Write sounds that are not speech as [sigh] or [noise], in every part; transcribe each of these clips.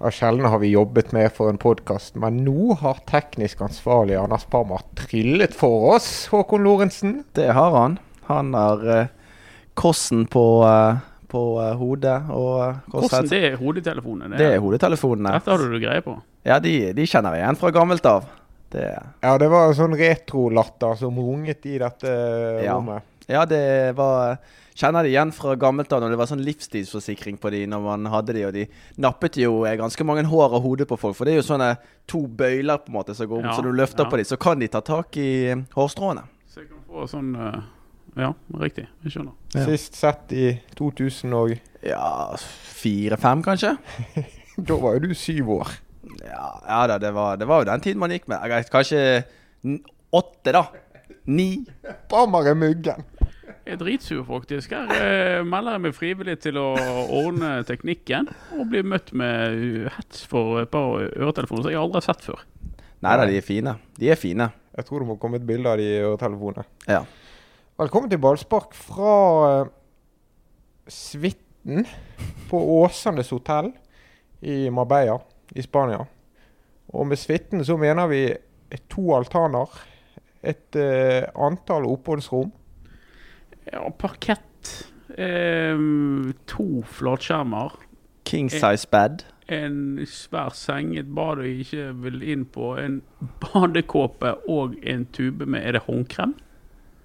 Ja, sjelden har vi jobbet med for en podkast, men nå har teknisk ansvarlig Anders Parma tryllet for oss, Håkon Lorentzen. Det har han. Han har eh, kossen på, eh, på eh, hodet og eh, Hvordan korshet. det er hodetelefonene? Det er hodetelefonene. Dette har du greie på. Ja, de, de kjenner jeg igjen fra gammelt av. Det, Ja, det var en sånn retrolatter som runget i dette eh, Ja. rommet. ja, det var eh, Kjenner de igjen fra gammelt av når det var sånn livstidsforsikring på de når man hadde de, og de nappet jo eh, ganske mange hår av hodet på folk, for det er jo sånne to bøyler på en måte som går om, Ja, så du løfter ja. på de, så kan de ta tak i eh, hårstråene. Så jeg kan få sånn eh, Ja, riktig. Jeg skjønner. Ja. Sist sett i 2000 og [laughs] Ja, fire-fem kanskje? Da var jo du syv år. Ja, ja da, det var, det var jo den tiden man gikk med. Jeg vet, Kanskje n- åtte, da. Ni. Barmer er muggen. Jeg er dritsur, faktisk. Her eh, melder jeg meg frivillig til å ordne teknikken, og blir møtt med uh, hets for et par øretelefoner som jeg aldri har sett før. Nei da, de er fine. De er fine. Jeg tror det må komme et bilde av de i øretelefonene. Ja. Velkommen til ballspark fra eh, suiten på Åsanes hotell i Marbella i Spania. Og med suiten så mener vi to altaner, et eh, antall oppholdsrom. Ja, parkett. Eh, to flatskjermer. King Eh. size bed. En svær seng, et bad jeg ikke vil inn på, en badekåpe og en tube med Er det håndkrem?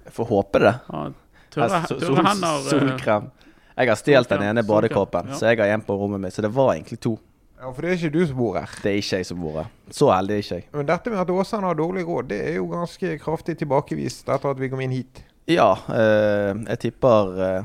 Jeg får håpe det. Ja, tørre, Altså, sol- tørre hender. eh, Solkrem. Jeg har stjålet den solkrem, ene solkrem, badekåpen, ja. så jeg har en på rommet mitt. Så det var egentlig to. Ja, For det er ikke du som bor her. Det er ikke jeg som bor her. Så heldig er ikke jeg. Men dette med at Åsane har dårlig råd, det er jo ganske kraftig tilbakevist etter at vi kom inn hit. Ja, eh, jeg tipper eh,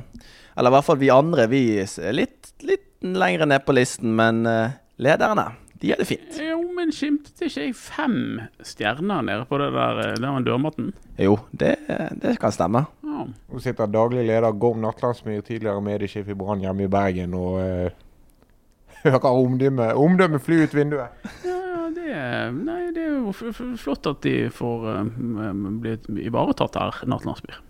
Eller i hvert fall vi andre, vi er litt, litt lenger ned på listen, men eh, lederne, de har det fint. Jo, men skimtet ikke jeg fem stjerner nede på det der, eh, der med dørmatten? Jo, det, det kan stemme. Ja. Nå sitter daglig leder Gorm Natlandsmyr, tidligere mediesjef i Brann hjemme i Bergen, og eh, [laughs] hører omdømmet omdømme fly ut vinduet. Ja, ja, det er, nei, det er jo f- f- flott at de får eh, m- bli ivaretatt her, Natlandsbyr.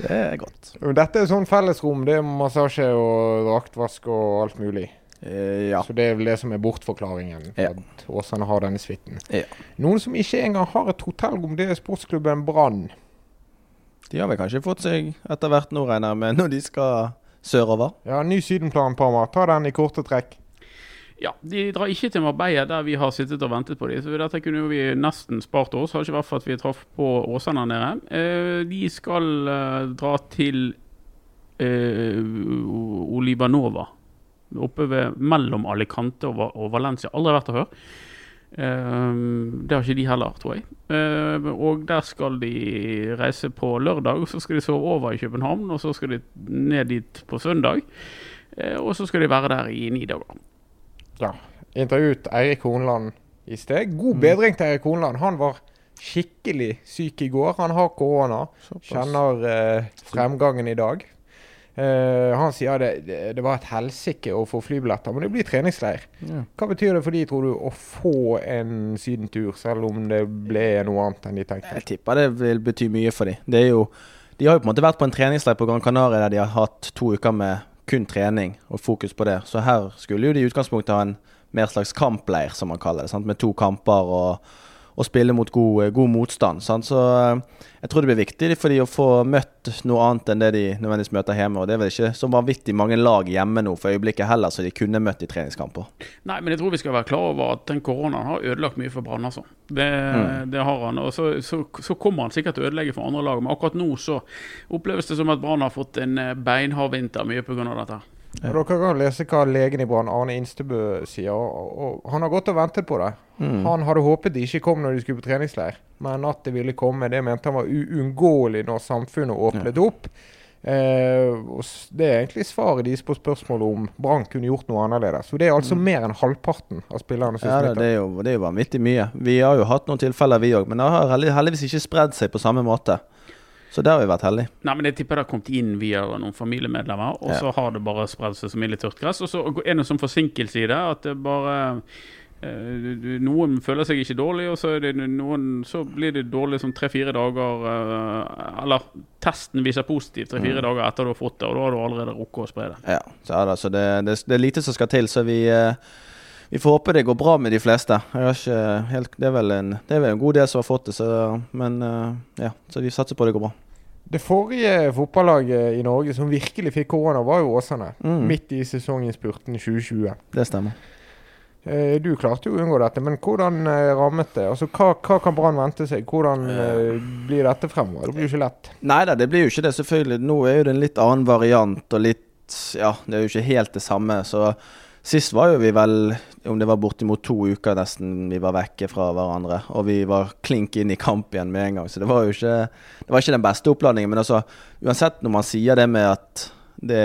Det er godt. Men Dette er sånn fellesrom. Det er massasje og draktvask og alt mulig. Eh, ja. Så det er vel det som er bortforklaringen. Ja. At Åsane har denne suiten. Ja. Noen som ikke engang har et hotellrom, det er sportsklubben Brann. De har vel kanskje fått seg etter hvert nå, regner jeg med, når de skal sørover. Ja, ny sydenplan, Parma. Ta den i korte trekk. Ja, de drar ikke til Marbella, der vi har sittet og ventet på dem. Så dette kunne jo vi nesten spart oss, hadde ikke vært for at vi traff på Åsane her nede. Eh, De skal eh, dra til eh, O- Olivanova, oppe ved, mellom Alicante og, Va- og Valencia. Aldri vært der før. Eh, det har ikke de heller, tror jeg. Eh, og der skal de reise på lørdag, så skal de sove over i København, og så skal de ned dit på søndag. Eh, og så skal de være der i ni dager. Intervjuet Eirik Hornland i sted. Mm. God bedring til Eirik Hornland. Han var skikkelig syk i går. Han har korona. Kjenner eh, fremgangen i dag. Eh, han sier det, det, det var et helsike å få flybilletter, men det blir treningsleir. Ja. Hva betyr det for de, tror du, å få en sydentur, selv om det ble noe annet enn de tenkte? Jeg tipper det vil bety mye for dem. Det er jo, de har jo på en måte vært på en treningsleir på Gran Canaria der de har hatt to uker med kun trening og fokus på det. Så her skulle jo de i utgangspunktet ha en mer slags kampleir, som man kaller det. Sant? Med to kamper og, og spille mot god, god motstand. Sant? Så eh, jeg tror det blir viktig for de å få møtt noe annet enn det de nødvendigvis møter hjemme. Og det er vel ikke så vanvittig mange lag hjemme nå for øyeblikket heller, så de kunne møtt i treningskamper. Nei, men jeg tror vi skal være klar over at den koronaen har ødelagt mye for Brann, altså. Det, det har han. Og så, så, så kommer han sikkert til å ødelegge for andre lag, men akkurat nå så oppleves det som at Brann har fått en eh, beinhard vinter mye pga. dette. her. Og Dere kan lese hva legen i Brann, Arne Instebø, sier. Og, og han har gått og ventet på det. Mm. Han hadde håpet det ikke kom når de skulle på treningsleir, men at det ville komme. Det mente han var uunngåelig når samfunnet åpnet opp. Eh, og s- det er egentlig svaret deres på spørsmålet om Brann kunne gjort noe annerledes. Så det er altså mer enn halvparten av spillerne som Mm. Ja, da, smitter. det, er jo, det er jo vanvittig mye. Vi har jo hatt noen tilfeller, vi òg. Men det har heldig- heldigvis ikke spredd seg på samme måte. Så der har vi vært heldige. Nei, men Jeg tipper det har kommet inn via noen familiemedlemmer, og så har det bare spredd seg som ild i tørt gress. Og så er det en sånn forsinkelse i det, at det bare eh, du- Noen føler seg ikke dårlig, og så, er det noen, så blir det dårlig sånn tre-fire dager eh, Eller testen viser positivt tre-fire dager etter du har fått det, og da har du allerede rukket å spre det. Ja, så, er det, så det, det, det er lite som skal til. Så vi, eh, Vi får håpe det går bra med de fleste. Jeg har ikke helt, det, er vel en, det er vel en god del som har fått det, så, men eh, ja, så vi satser på det går bra. Det forrige fotballaget i Norge som virkelig fikk korona, var jo Åsane. Mm. Midt i sesonginnspurten 2020. Det stemmer. Eh, Du klarte jo å unngå dette, men hvordan eh, rammet det? Altså, Hva, hva kan Brann vente seg? Hvordan eh, blir dette fremover? Det blir jo ikke lett. Nei da, det blir jo ikke det, selvfølgelig. Nå er jo det en litt annen variant og litt Ja, det er jo ikke helt det samme, så sist var jo vi vel Om det var bortimot to uker nesten vi var vekke fra hverandre, og vi var klink inn i kamp igjen med en gang, så det var jo ikke Det var ikke den beste oppladningen, men altså Uansett når man sier det med at det,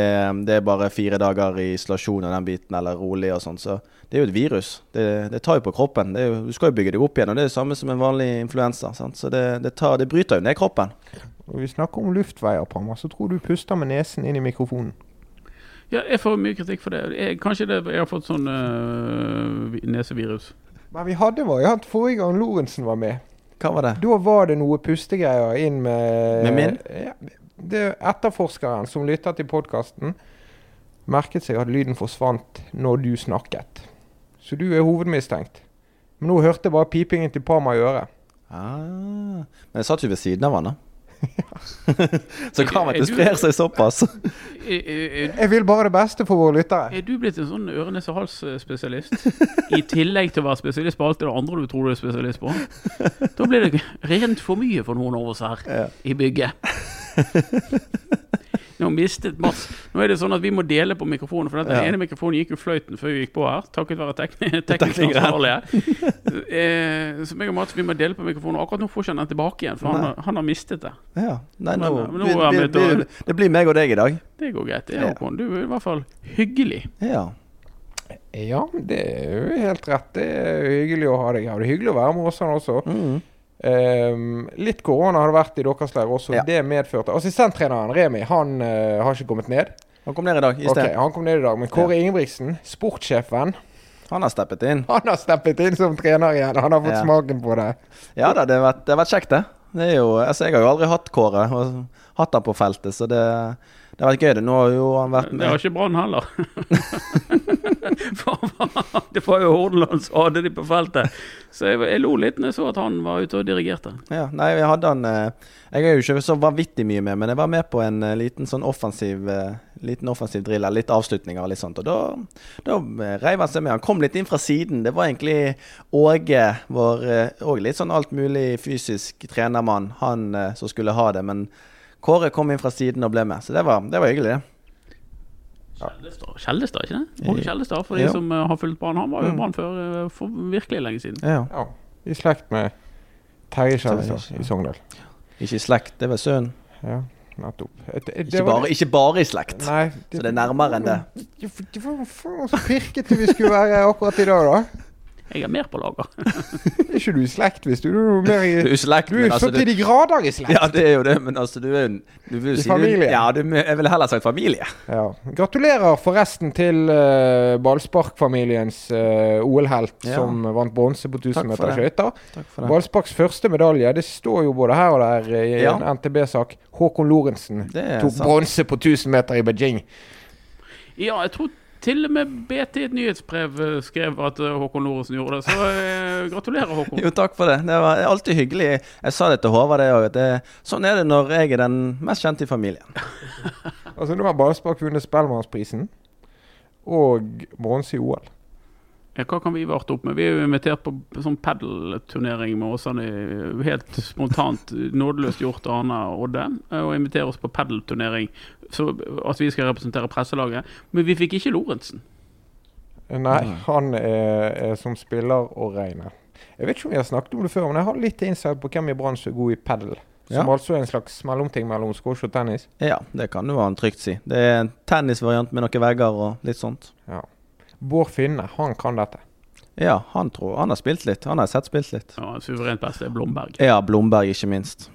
det er bare fire dager i isolasjon og den biten, eller rolig og sånn, så det er jo et virus. Det, det tar jo på kroppen. Det er jo, du skal jo bygge deg opp igjen, og det er det samme som en vanlig influensa. Sant? Så det, det, tar, det bryter jo ned kroppen. Og vi snakker om luftveier, Pammer, så tror du puster med nesen inn i mikrofonen. Ja, jeg får mye kritikk for det. Jeg, kanskje det, jeg har fått sånn øh, vi- nesevirus. Men vi hadde variant forrige gang Lorentzen var med. Hva var det? Da var det noe pustegreier inn med Med min? Ja, det etterforskeren som lytta til podkasten, merket seg at lyden forsvant når du snakket. Så du er hovedmistenkt. Men nå hørte jeg bare pipingen til Parma i øret. Ah, men jeg satt jo ved siden av han, [laughs] da. så Er- er kameraet du- sprer seg såpass. Er, er, Jeg vil bare det beste for våre lyttere. er du blitt en sånn øre-nese-hals-spesialist? I tillegg til å være spesialist på alt det andre du tror du er spesialist på? Da blir det rent for mye for noen av oss her Ja. i bygget. Nå, mistet Mats. Nå er det sånn at vi må dele på mikrofonen. For at den Ja. ene mikrofonen gikk jo fløyten før vi gikk på her, takket [laughs] være tekni teknisk Teknikeren. ansvarlige. Eh, så meg og Mats vi må dele på mikrofonen. Akkurat nå får ikke han den tilbake igjen, for han, Nei. har- han har mistet det. Ja. Nei, nå, Men- men nå vi, er han vi, ute vi, og- det blir meg og deg i dag. Det går greit. Det, Ja. Håkon. Du er i hvert fall hyggelig. Ja. Ja, det er jo helt rett. Det er hyggelig å ha deg her. Det er hyggelig å være med Åsane også. Mm. Ehm, litt korona har det vært i deres leir også. Ja. Det medførte Assistenttreneren Remi han eh, har ikke kommet ned. Han kom ned i dag i Ok, sted. han kom ned i dag, men Kåre Ingebrigtsen, sportssjefen, [laughs] Han har steppet inn. han har steppet inn som trener igjen. Han har fått Ja. smaken på det. Ja da, det har vært, det har vært kjekt, det. det er jo, altså, jeg har jo aldri hatt Kåre, og hatt han på feltet, så det, det har vært gøy. det. Nå har jo han vært Det med. har ikke Brann heller. For det var jo Hordaland som hadde de på feltet. Så jeg, jeg lo litt når jeg så at han var ute og dirigerte. Ja, nei, jeg hadde han eh, Jeg er jo ikke så vanvittig mye med, men jeg var med på en eh, liten sånn offensiv eh, Liten offensiv drill, eller litt avslutninger og litt sånt. Og da, da eh, reiv han seg med. Han kom litt inn fra siden. Det var egentlig Åge, vår òg litt sånn alt mulig fysisk trenermann, han eh, som skulle ha det. Men Kåre kom inn fra siden og ble med, så det var, det var hyggelig, det. Kjeldestad, Kjeldestad, ikke det? Åge Kjeldestad, for de Ja. som eh, har fulgt Brann. Han var jo Mm. Brann før eh, for virkelig lenge siden. Ja. Ja, I slekt med Terje Terje, Skjellestad ja. i Sogndal. Ikke i slekt, det var sønnen. Ja, nettopp. Et- et- det Ikke, var- bare- ikke bare i slekt. Nei, Så det er nærmere enn det. Ja, for- det var faen så pirkete vi skulle være akkurat i dag, da. Jeg er mer på lager. Er ikke du i slekt, hvis du? Du er jo mer Du [laughs] i er i slekt, Du er men jo altså, så du, til de grader i slekt. Ja, det er jo det, men altså, du er jo en- du vil jo I si, du- familie. Ja, du, jeg ville heller sagt familie. Ja. Gratulerer forresten til eh, ballsparkfamiliens eh, OL-helt Ja. som vant bronse på Takk 1000 for meter det. skøyter. Takk for Ballsparks første medalje, det står jo både her og der eh, i Ja. en NTB-sak. Håkon Lorentzen Det er tok sant. bronse på 1000 meter i Beijing. Ja, jeg tror til og med BT i et nyhetsbrev eh, skrev at eh, Håkon Lorentzen gjorde det. Så eh, gratulerer, Håkon. Jo, takk for det. Det var alltid hyggelig. Jeg sa det til Håvard, det òg. Sånn er det når jeg er den mest kjente i familien. Altså, nå har ballspark vunnet Spellemannsprisen og bronse i OL. Ja, hva kan vi varte opp med? Vi er jo invitert på sånn padelturnering med Åsane. Helt spontant, [laughs] nådeløst gjort av Arne og Odde å invitere oss på padelturnering. Så at vi skal representere presselaget. Men vi fikk ikke Lorentzen. Nei, Mm. han er, er som spiller å regne. Jeg vet ikke om vi har snakket om det før, men jeg har litt insight på hvem i Brann som er god i padel. Som Ja. altså er en slags mellomting mellom squash og tennis. Ja, det kan du han trygt si. Det er en tennisvariant med noen vegger og litt sånt. Bård Finne, han kan dette. Ja, han tror Han har spilt litt. Han har jeg sett spilt litt. Ja, suverent beste er Blomberg. Ja, Blomberg, ikke minst.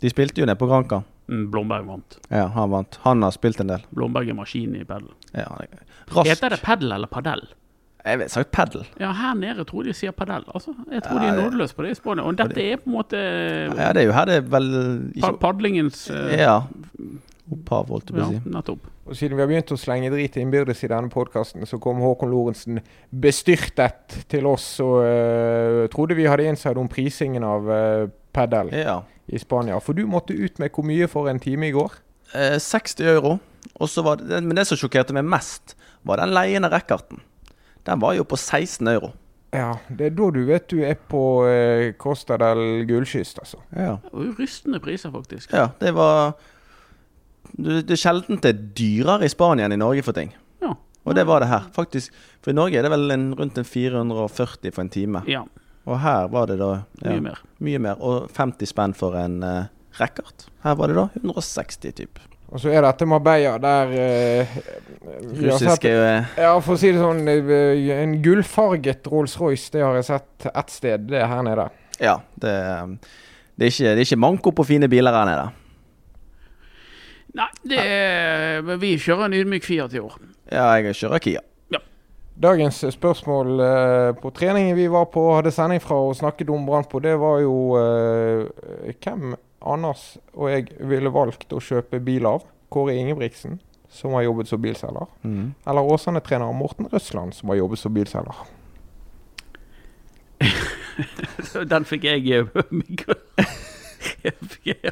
De spilte jo ned på Granka. Mm, Blomberg vant. Ja, han vant. Han har spilt en del. Blomberg er maskinen i padel. Ja, han er- Rask. Heter det padel eller padel? Jeg vil sagt padel. Ja, her nede tror jeg de sier padel. Altså, jeg tror Ja, de er det- nådeløse på det i Spania. Og dette er på en måte Ja, det er jo her det er vel pa- ikke, padlingens eh, Ja. Opphav, holdt jeg på Ja, å si. nettopp. Og siden vi har begynt å slenge drit innbyrdes i denne podkasten, så kom Håkon Lorentzen bestyrtet til oss og eh, trodde vi hadde inside om prisingen av uh, padel Ja. i Spania. For du måtte ut med hvor mye for en time i går? Eh, 60 euro. Og så var det, men det som sjokkerte meg mest, var den leiende racketen. Den var jo på 16 euro. Ja, det er da du vet du er på eh, Costa del Gullkyst, altså. Ja. Og Rystende priser, faktisk. ja det var du- Det er sjelden det er dyrere i Spania enn i Norge for ting. Ja. Og det var det her, faktisk. For i Norge er det vel en, rundt en 440 for en time. Ja, Og her var det da mye ja, mer. mye mer. Og 50 spenn for en uh, rackert. Her var det da 160, typ. Og så er dette Marbella, der eh, vi har sett- Russiske eh, Ja, for å si det sånn, eh, en gullfarget Rolls-Royce, det har jeg sett ett sted, det er her nede. Ja. Det, det, er ikke, det er ikke manko på fine biler her nede. Nei, det er, men vi kjører en ydmyk Fiat i år. Ja, jeg kjører Kia. Dagens spørsmål eh, på treningen vi var på, hadde sending fra og snakket om Brannpå, det var jo eh, hvem Anders og jeg ville valgt å kjøpe bil av. Kåre Ingebrigtsen, som har jobbet som bilselger. Eller Åsane-trener Morten Røsland, som har jobbet som bilselger. [laughs] Den fikk jeg eh, [laughs] mikro- Jeg fikk-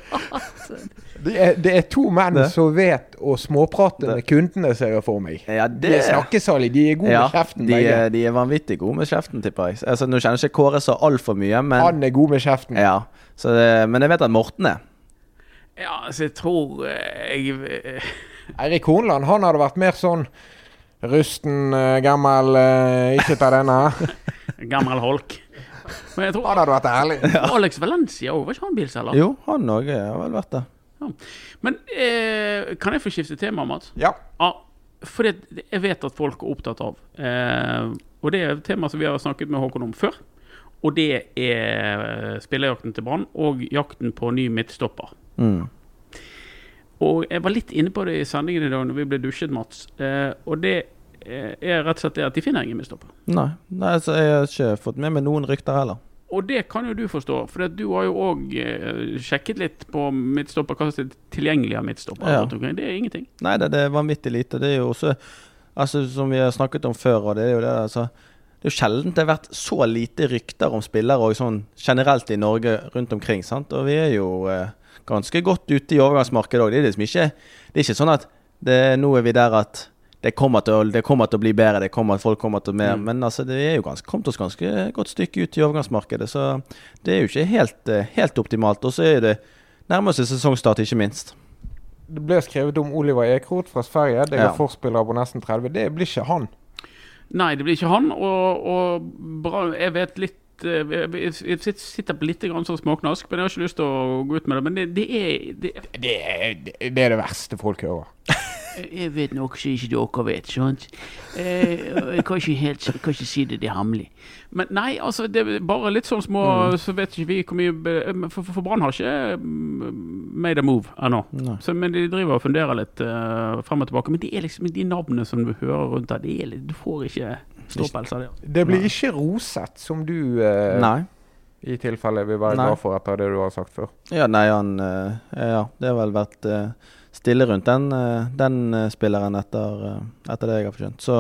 Det er, det er to menn Det. som vet å småprate Det. med kundene, ser jeg for meg. Ja, Det er snakkesalig. De er gode ja, med kjeften, de, begge. er- de er vanvittig gode med kjeften, tipper jeg. Altså, nå kjenner jeg ikke Kåre så altfor mye, men Han er god med kjeften. ja, så det, Men jeg vet at Morten er. Ja, altså, jeg tror eh, jeg eh, Eirik Hornland han hadde vært mer sånn rusten, eh, gammel, eh, ikke ta [laughs] denne. Gammel holk. Men jeg tror Han hadde vært ærlig. Alex Valencia òg, var ikke han bilselger? Jo, han òg har vel vært det. Men eh, kan jeg få skifte tema, Mats? Ja. Ja, for det, jeg vet at folk er opptatt av. Eh, og det er et tema som vi har snakket med Håkon om før. Og det er eh, spillerjakten til Brann og jakten på ny midtstopper. Mm. Og jeg var litt inne på det i sendingen i dag når vi ble dusjet, Mats. Eh, og det eh, er rett og slett det at de finner ingen midtstopper. Nei, Nei så jeg har ikke fått med meg noen rykter heller. Og det kan jo du forstå, for at du har jo òg eh, sjekket litt på midtstopper, hva som er tilgjengelig av midtstopper. Ja. rundt omkring. Det er ingenting. Nei, det, det er vanvittig lite. Det er jo også Altså, som vi har snakket om før, og det er jo det altså, Det er jo sjelden det har vært så lite rykter om spillere og sånn generelt i Norge rundt omkring. sant? Og vi er jo eh, ganske godt ute i overgangsmarkedet òg. Det, er liksom ikke- det er ikke sånn at det, nå er vi der at det kommer, til å, det kommer til å bli bedre, det kommer, folk kommer til å mer, Mm. men altså, det er jo ganske, kommet oss ganske godt stykke ut i overgangsmarkedet. Så det er jo ikke helt, eh, helt optimalt. Og så er det nærmer seg sesongstart, ikke minst. Det ble skrevet om Oliver Ekroth fra Sverige. Det er Ja. forspiller på nesten 30. Det blir ikke han. Nei, det blir ikke han. Og, og bra, jeg vet litt eh, Jeg jeg sit- sitter på litt grann sånn småknask, men jeg har ikke lyst til å gå ut med det. Men det, det er det, Det er det, er det verste folk hører. Jeg vet noe som ikke dere vet, sant? Jeg kan ikke helt kan ikke si det, det er hemmelig. Men nei, altså, det er bare litt sånn små Mm. Så vet ikke vi hvor mye be- eh, men For, for, for Brann har ikke mm, made a move ennå. Nei. Så- Men de driver og funderer litt eh, frem og tilbake. Men det er liksom de navnene som du hører rundt der, det er litt, du får ikke ståpels av det. altså. Det blir ikke roset, som du eh, Nei. i tilfelle vil være Nei. glad for etter det du har sagt før. Ja, nei, han eh, Ja, det har vel vært eh, stille rundt den, eh, den eh, spilleren etter, eh, etter det jeg har forskjønt. Så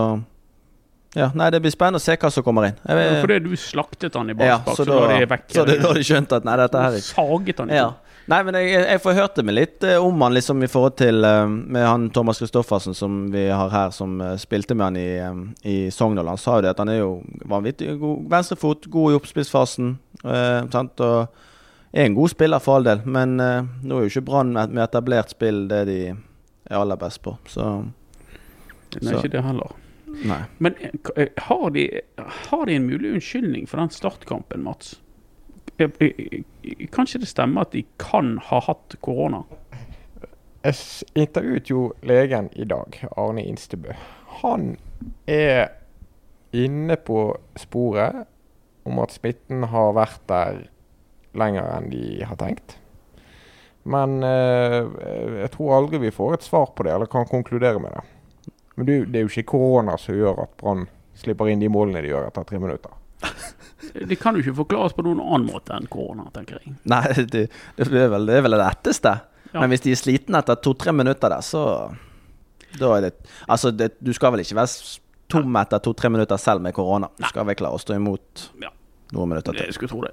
Ja, nei, det blir spennende å se hva som kommer inn. Jeg vet- Fordi du slaktet han i ja, bakspakt, så, da var det vekk. så da da har de skjønt at nei, dette her er ikke Saget han ja. Nei, men jeg, jeg- jeg forhørte meg litt eh, om han liksom i forhold til eh, med han Thomas Christoffersen som vi har her, som eh, spilte med han i, eh, i Sogndal. Han sa jo det at han er jo vanvittig god venstrefot, god i oppspillsfasen. eh, sant? Og er en god spiller for all del, men eh, nå er jo ikke Brann med med etablert spill det de er aller best på, så Nei, ikke det heller. nei. Men eh, k- eh, har de, har de en mulig unnskyldning for den startkampen, Mats? Eh, eh, eh, Kanskje det stemmer at de kan ha hatt korona? Jeg s- intervjuet jo legen i dag, Arne Instebø. Han er inne på sporet om at smitten har vært der lenger enn de har tenkt. Men eh, jeg tror aldri vi får et svar på det, eller kan konkludere med det. Men det, er jo- det er jo ikke korona som gjør at Brann slipper inn de målene de gjør etter tre minutter. Det kan jo ikke forklares på noen annen måte enn korona, tenker jeg. Nei, det, det, er vel, det er vel det letteste. Ja. Men hvis de er slitne etter to-tre minutter der, så Da er det Altså, det, du skal vel ikke være s- tom etter to-tre minutter selv med korona. Du skal vel klare å stå imot Ja. noen minutter til. Jeg skulle tro det.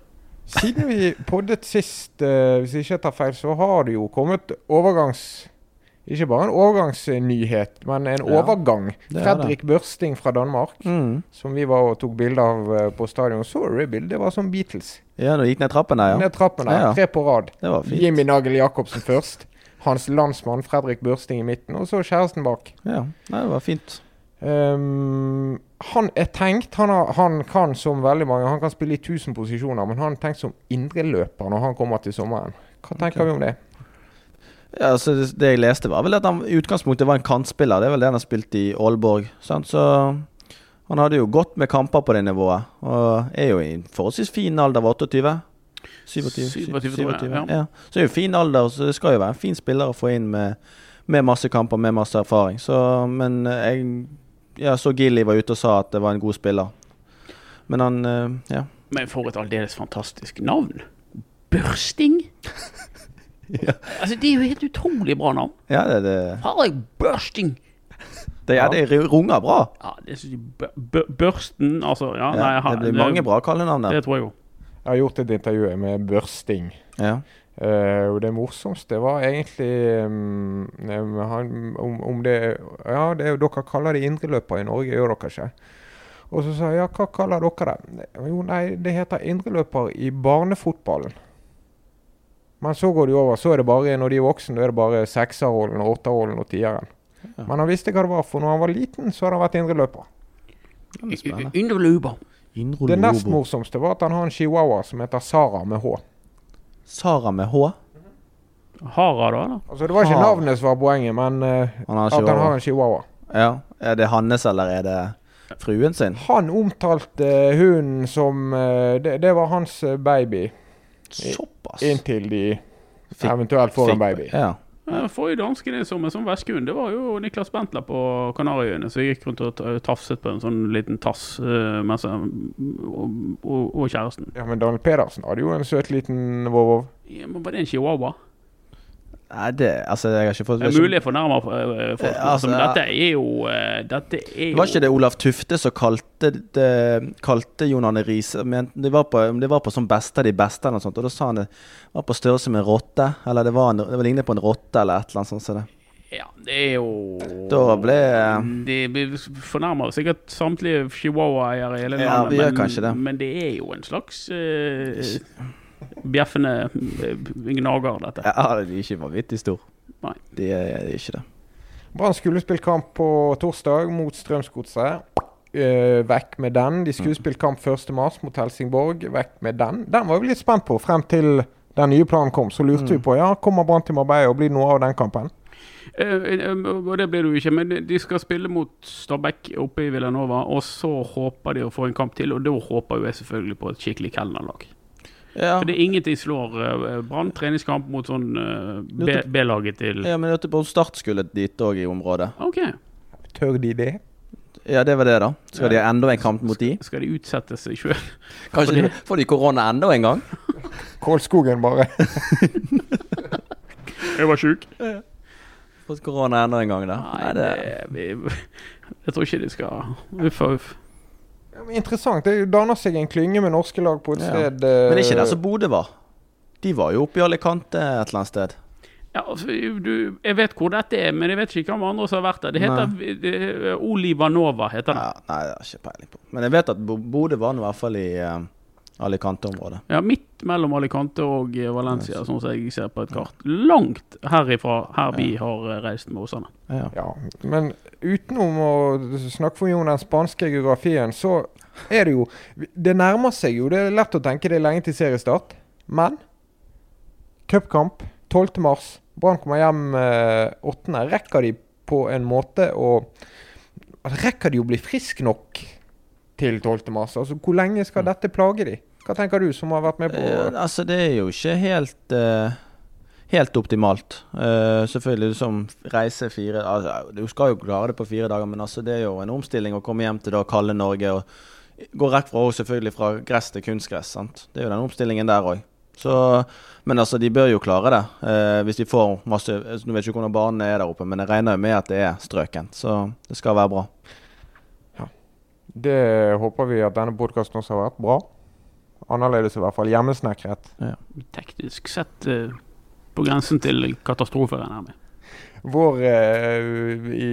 Siden vi poddet sist, eh, hvis jeg ikke tar feil, så har det jo kommet overgangs... Ikke bare en overgangsnyhet, men en Ja, overgang. det er Fredrik Børsting fra Danmark, Mm. som vi var og tok bilde av eh, på stadion. Så du det bildet? Det var som Beatles. Ja, du gikk ned trappen der, ja. Ned trappen der, Ja, ja. tre på rad. Det var fint. Jimmy Nagel Jacobsen først. Hans landsmann Fredrik Børsting i midten, og så kjæresten bak. Ja, Nei, det var fint. Ehm, han er tenkt han, har, han kan som veldig mange Han kan spille i 1000 posisjoner, men han er tenkt som indreløper når han kommer til sommeren. Hva tenker Ok. vi om det? Ja, så det, det jeg leste, var vel at han i utgangspunktet var en kantspiller. Det er vel det han har spilt i Aalborg. Sant? Så han hadde jo godt med kamper på det nivået, og er jo i en forholdsvis fin alder av 28. 27, 27, 27, tror jeg, ja. ja. Så det er jo fin alder, så det skal jo være en fin spiller å få inn med, med masse kamper, med masse erfaring. Så, men eh, jeg ja, så Gilly var ute og sa at det var en god spiller. Men han eh, ja. Men for et aldeles fantastisk navn. Børsting? [laughs] Ja. Altså, det er jo helt utrolig bra navn. ja, det, det, Harald Børsting. det, ja, det runger bra. Ja, det synes jeg bø- bø- Børsten, altså. Ja, nei, Ja, ha- det blir mange bra kallenavn der. Det tror jeg jo. Jeg har gjort et intervju med Børsting. Ja. Eh, og det morsomste var egentlig mm, eh, han, om, om det Ja, det er jo dere kaller det indreløper i Norge, gjør dere ikke? Og så sa jeg ja, hva kaller dere det? Eh, Jo, nei, det heter indreløper i barnefotballen. Men så går det jo over. Så er det bare når de er voksne, da er det bare sekserrollen, åtterrollen og tieren. Ja. Men han visste hva det var, for når han var liten, så hadde han vært indreløper. Det blir spennende. Underluber. Det nest morsomste var at han har en chihuahua som heter Sara med H. Sara med H. Hara, da? eller? Altså Det var ikke Har. navnet som var poenget, men eh, Han har at han har chihuahua. en chihuahua. Ja. Er det Hannes, eller er det fruen sin? Han omtalte eh, hunden som eh, det, det var hans eh, baby, Såpass. inntil de Fikk- eventuelt får en baby. Ja. Eh, Forrige danske det som en sånn veskhund, det var jo Niklas Bentler på Kanariøyene. Så jeg gikk rundt og ta- tafset på en sånn liten tass eh, mens jeg, og, og, og kjæresten. Ja, Men Daniel Pedersen hadde jo en søt liten vovov. Ja, men Var det en chihuahua? Nei, det Altså, jeg har ikke fått Det er mulig jeg fornærmer eh, folk, Eh, altså, men ja. dette er jo eh, Dette er Det jo var ikke det Olaf Tufte som kalte, det, kalte Jon Arne Riise men det, var på- det var på sånn beste av de beste, eller noe sånt, og da sa han det var på størrelse med en rotte. Eller det var, en, det var lignet på en rotte, eller et eller annet sånt. Så det. Ja, det er jo Da ble- eh, Det blir fornærmer sikkert samtlige chihuahua-eiere i hele Ja, vi gjør kanskje det. men det er jo en slags eh, bjeffende eh, gnager, dette. Ja, de er ikke vanvittig stor. Nei. De er, de er ikke det. Brann skulle spilt kamp på torsdag mot Strømsgodset. Eh, vekk med den. De Mm. skulle spilt kamp 1. mars mot Helsingborg. Vekk med den. Den var vi litt spent på frem til den nye planen kom. Så lurte Mm. vi på ja, kommer Brann til Marbella og blir det noe av den kampen. Eh, eh, Og det blir det jo ikke, men de skal spille mot Stabæk oppe i Villanova. Og så håper de å få en kamp til, og da håper jo jeg selvfølgelig på et skikkelig kelnerlag. Ja. For det er ingenting slår eh, Brann treningskamp mot sånn eh, B- B-laget til ja, men jeg hørte på Start skulle dit òg, i området. OK. Tør de det? Ja, det var det, da. Skal de ha enda en kamp mot de? Skal de utsette seg sjøl? Kanskje Fordi- de, får de korona enda en gang? Kålskogen [laughs] bare. [laughs] Jeg var sjuk. Fått korona enda en gang, da? Nei, det vi, [laughs] Jeg tror ikke de skal Uff og uff. Ja, men interessant. Det danner seg en klynge med norske lag på et Ja. sted eh, Men det er ikke der som Bodø var. De var jo oppe i Alicante et eller annet sted. Ja, altså, du, jeg vet hvor dette er, men jeg vet ikke hvem andre som har vært der. Det heter det, Olivanova. heter det. Ja, nei, det har jeg ikke peiling på. Men jeg vet at Bo- Bodø var nå i hvert fall i eh, Alicante-området. Ja, Midt mellom Alicante og eh, Valencia, sånn som jeg ser på et kart. Langt herifra, her vi har eh, reist med Åsane. Ja. Ja, men utenom å snakke for mye om den spanske geografien, så er det jo Det nærmer seg jo. Det er lett å tenke det er lenge til seriestart, men cupkamp 12. mars. Brann kommer hjem eh, 8. Rekker de på en måte å altså, Rekker de å bli frisk nok til 12. mars? Altså, hvor lenge skal dette plage de? Hva tenker du, som har vært med på Eh, altså, det er jo ikke helt eh, Helt optimalt. Eh, selvfølgelig som reise fire altså, Du skal jo klare det på fire dager, men altså, det er jo en omstilling å komme hjem til da kalde Norge og gå rett fra og selvfølgelig fra gress til kunstgress. sant? Det er jo den omstillingen der òg. Så, men altså, de bør jo klare det. Eh, hvis de får masse altså, Nå vet jeg ikke hvordan banen er der oppe, men jeg regner jo med at det er strøkent. Så det skal være bra. Det håper vi at denne podkasten også har vært bra. Annerledes i hvert fall. Hjemmesnekret. Teknisk sett eh, på grensen til katastrofe, regner jeg med. Vår eh, i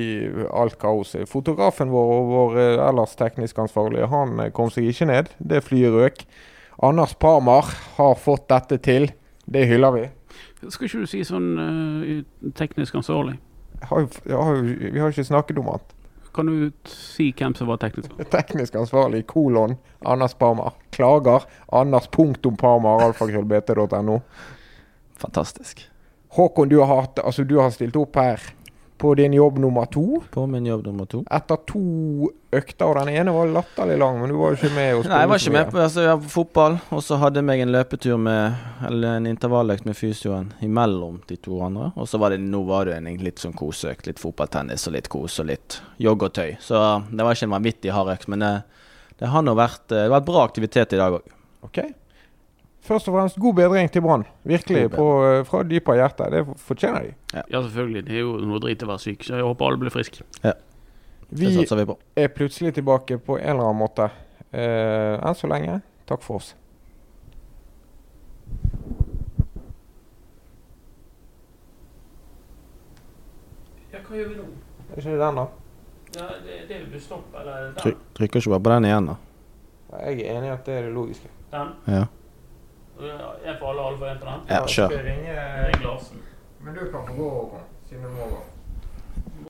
alt kaoset. Fotografen vår og vår eh, ellers teknisk ansvarlige, han eh, kom seg ikke ned. Det flyet røk. Anders Parmar har fått dette til. Det hyller vi. Skal ikke du si sånn eh, teknisk ansvarlig? Jeg har, jo- jeg har, jo- vi har jo ikke snakket om han. Kan du si hvem som var teknisk ansvarlig? Teknisk ansvarlig, kolon, Anders Parmar. Klager, Anders punktum Parmar, alfakrøllbt.no. Fantastisk. Håkon, du har, hatt, altså, du har stilt opp her på din jobb nummer to. På min jobb nummer to. Etter to økter, og den ene var latterlig lang, men du var jo ikke med. og Nei, jeg var ikke spilte så mye. med på, altså, jeg var på fotball, og så hadde jeg meg en løpetur med Eller en intervalløkt med fysioen imellom de to andre. Og så var det nå var det en litt sånn koseøkt. Litt fotballtennis og litt kos og litt joggetøy. Så um, det var ikke en vanvittig hard økt, men det, det har nå vært eh, Det har vært bra aktivitet i dag òg. Ok. Først og fremst, god bedring til Brann. Virkelig, God bedring. på, eh, fra dypet av hjertet. Det fortjener de. Ja, selvfølgelig. Det er jo noe drit å være syk, så jeg håper alle blir friske. Det Vi satser vi på. er plutselig tilbake på en eller annen måte. Eh, enn så lenge, takk for oss. Ja, hva gjør vi nå? Er ikke det den, da? det, er busstopp, eller Tryk, trykker ikke bare på den igjen, da. Jeg er enig i at det er det logiske. Den. Ja. Jeg får alle, alle får en på den. Ja, kjør. Jeg skal ringe- Larsen. Men du kan få gå, Håkon, siden du må gå.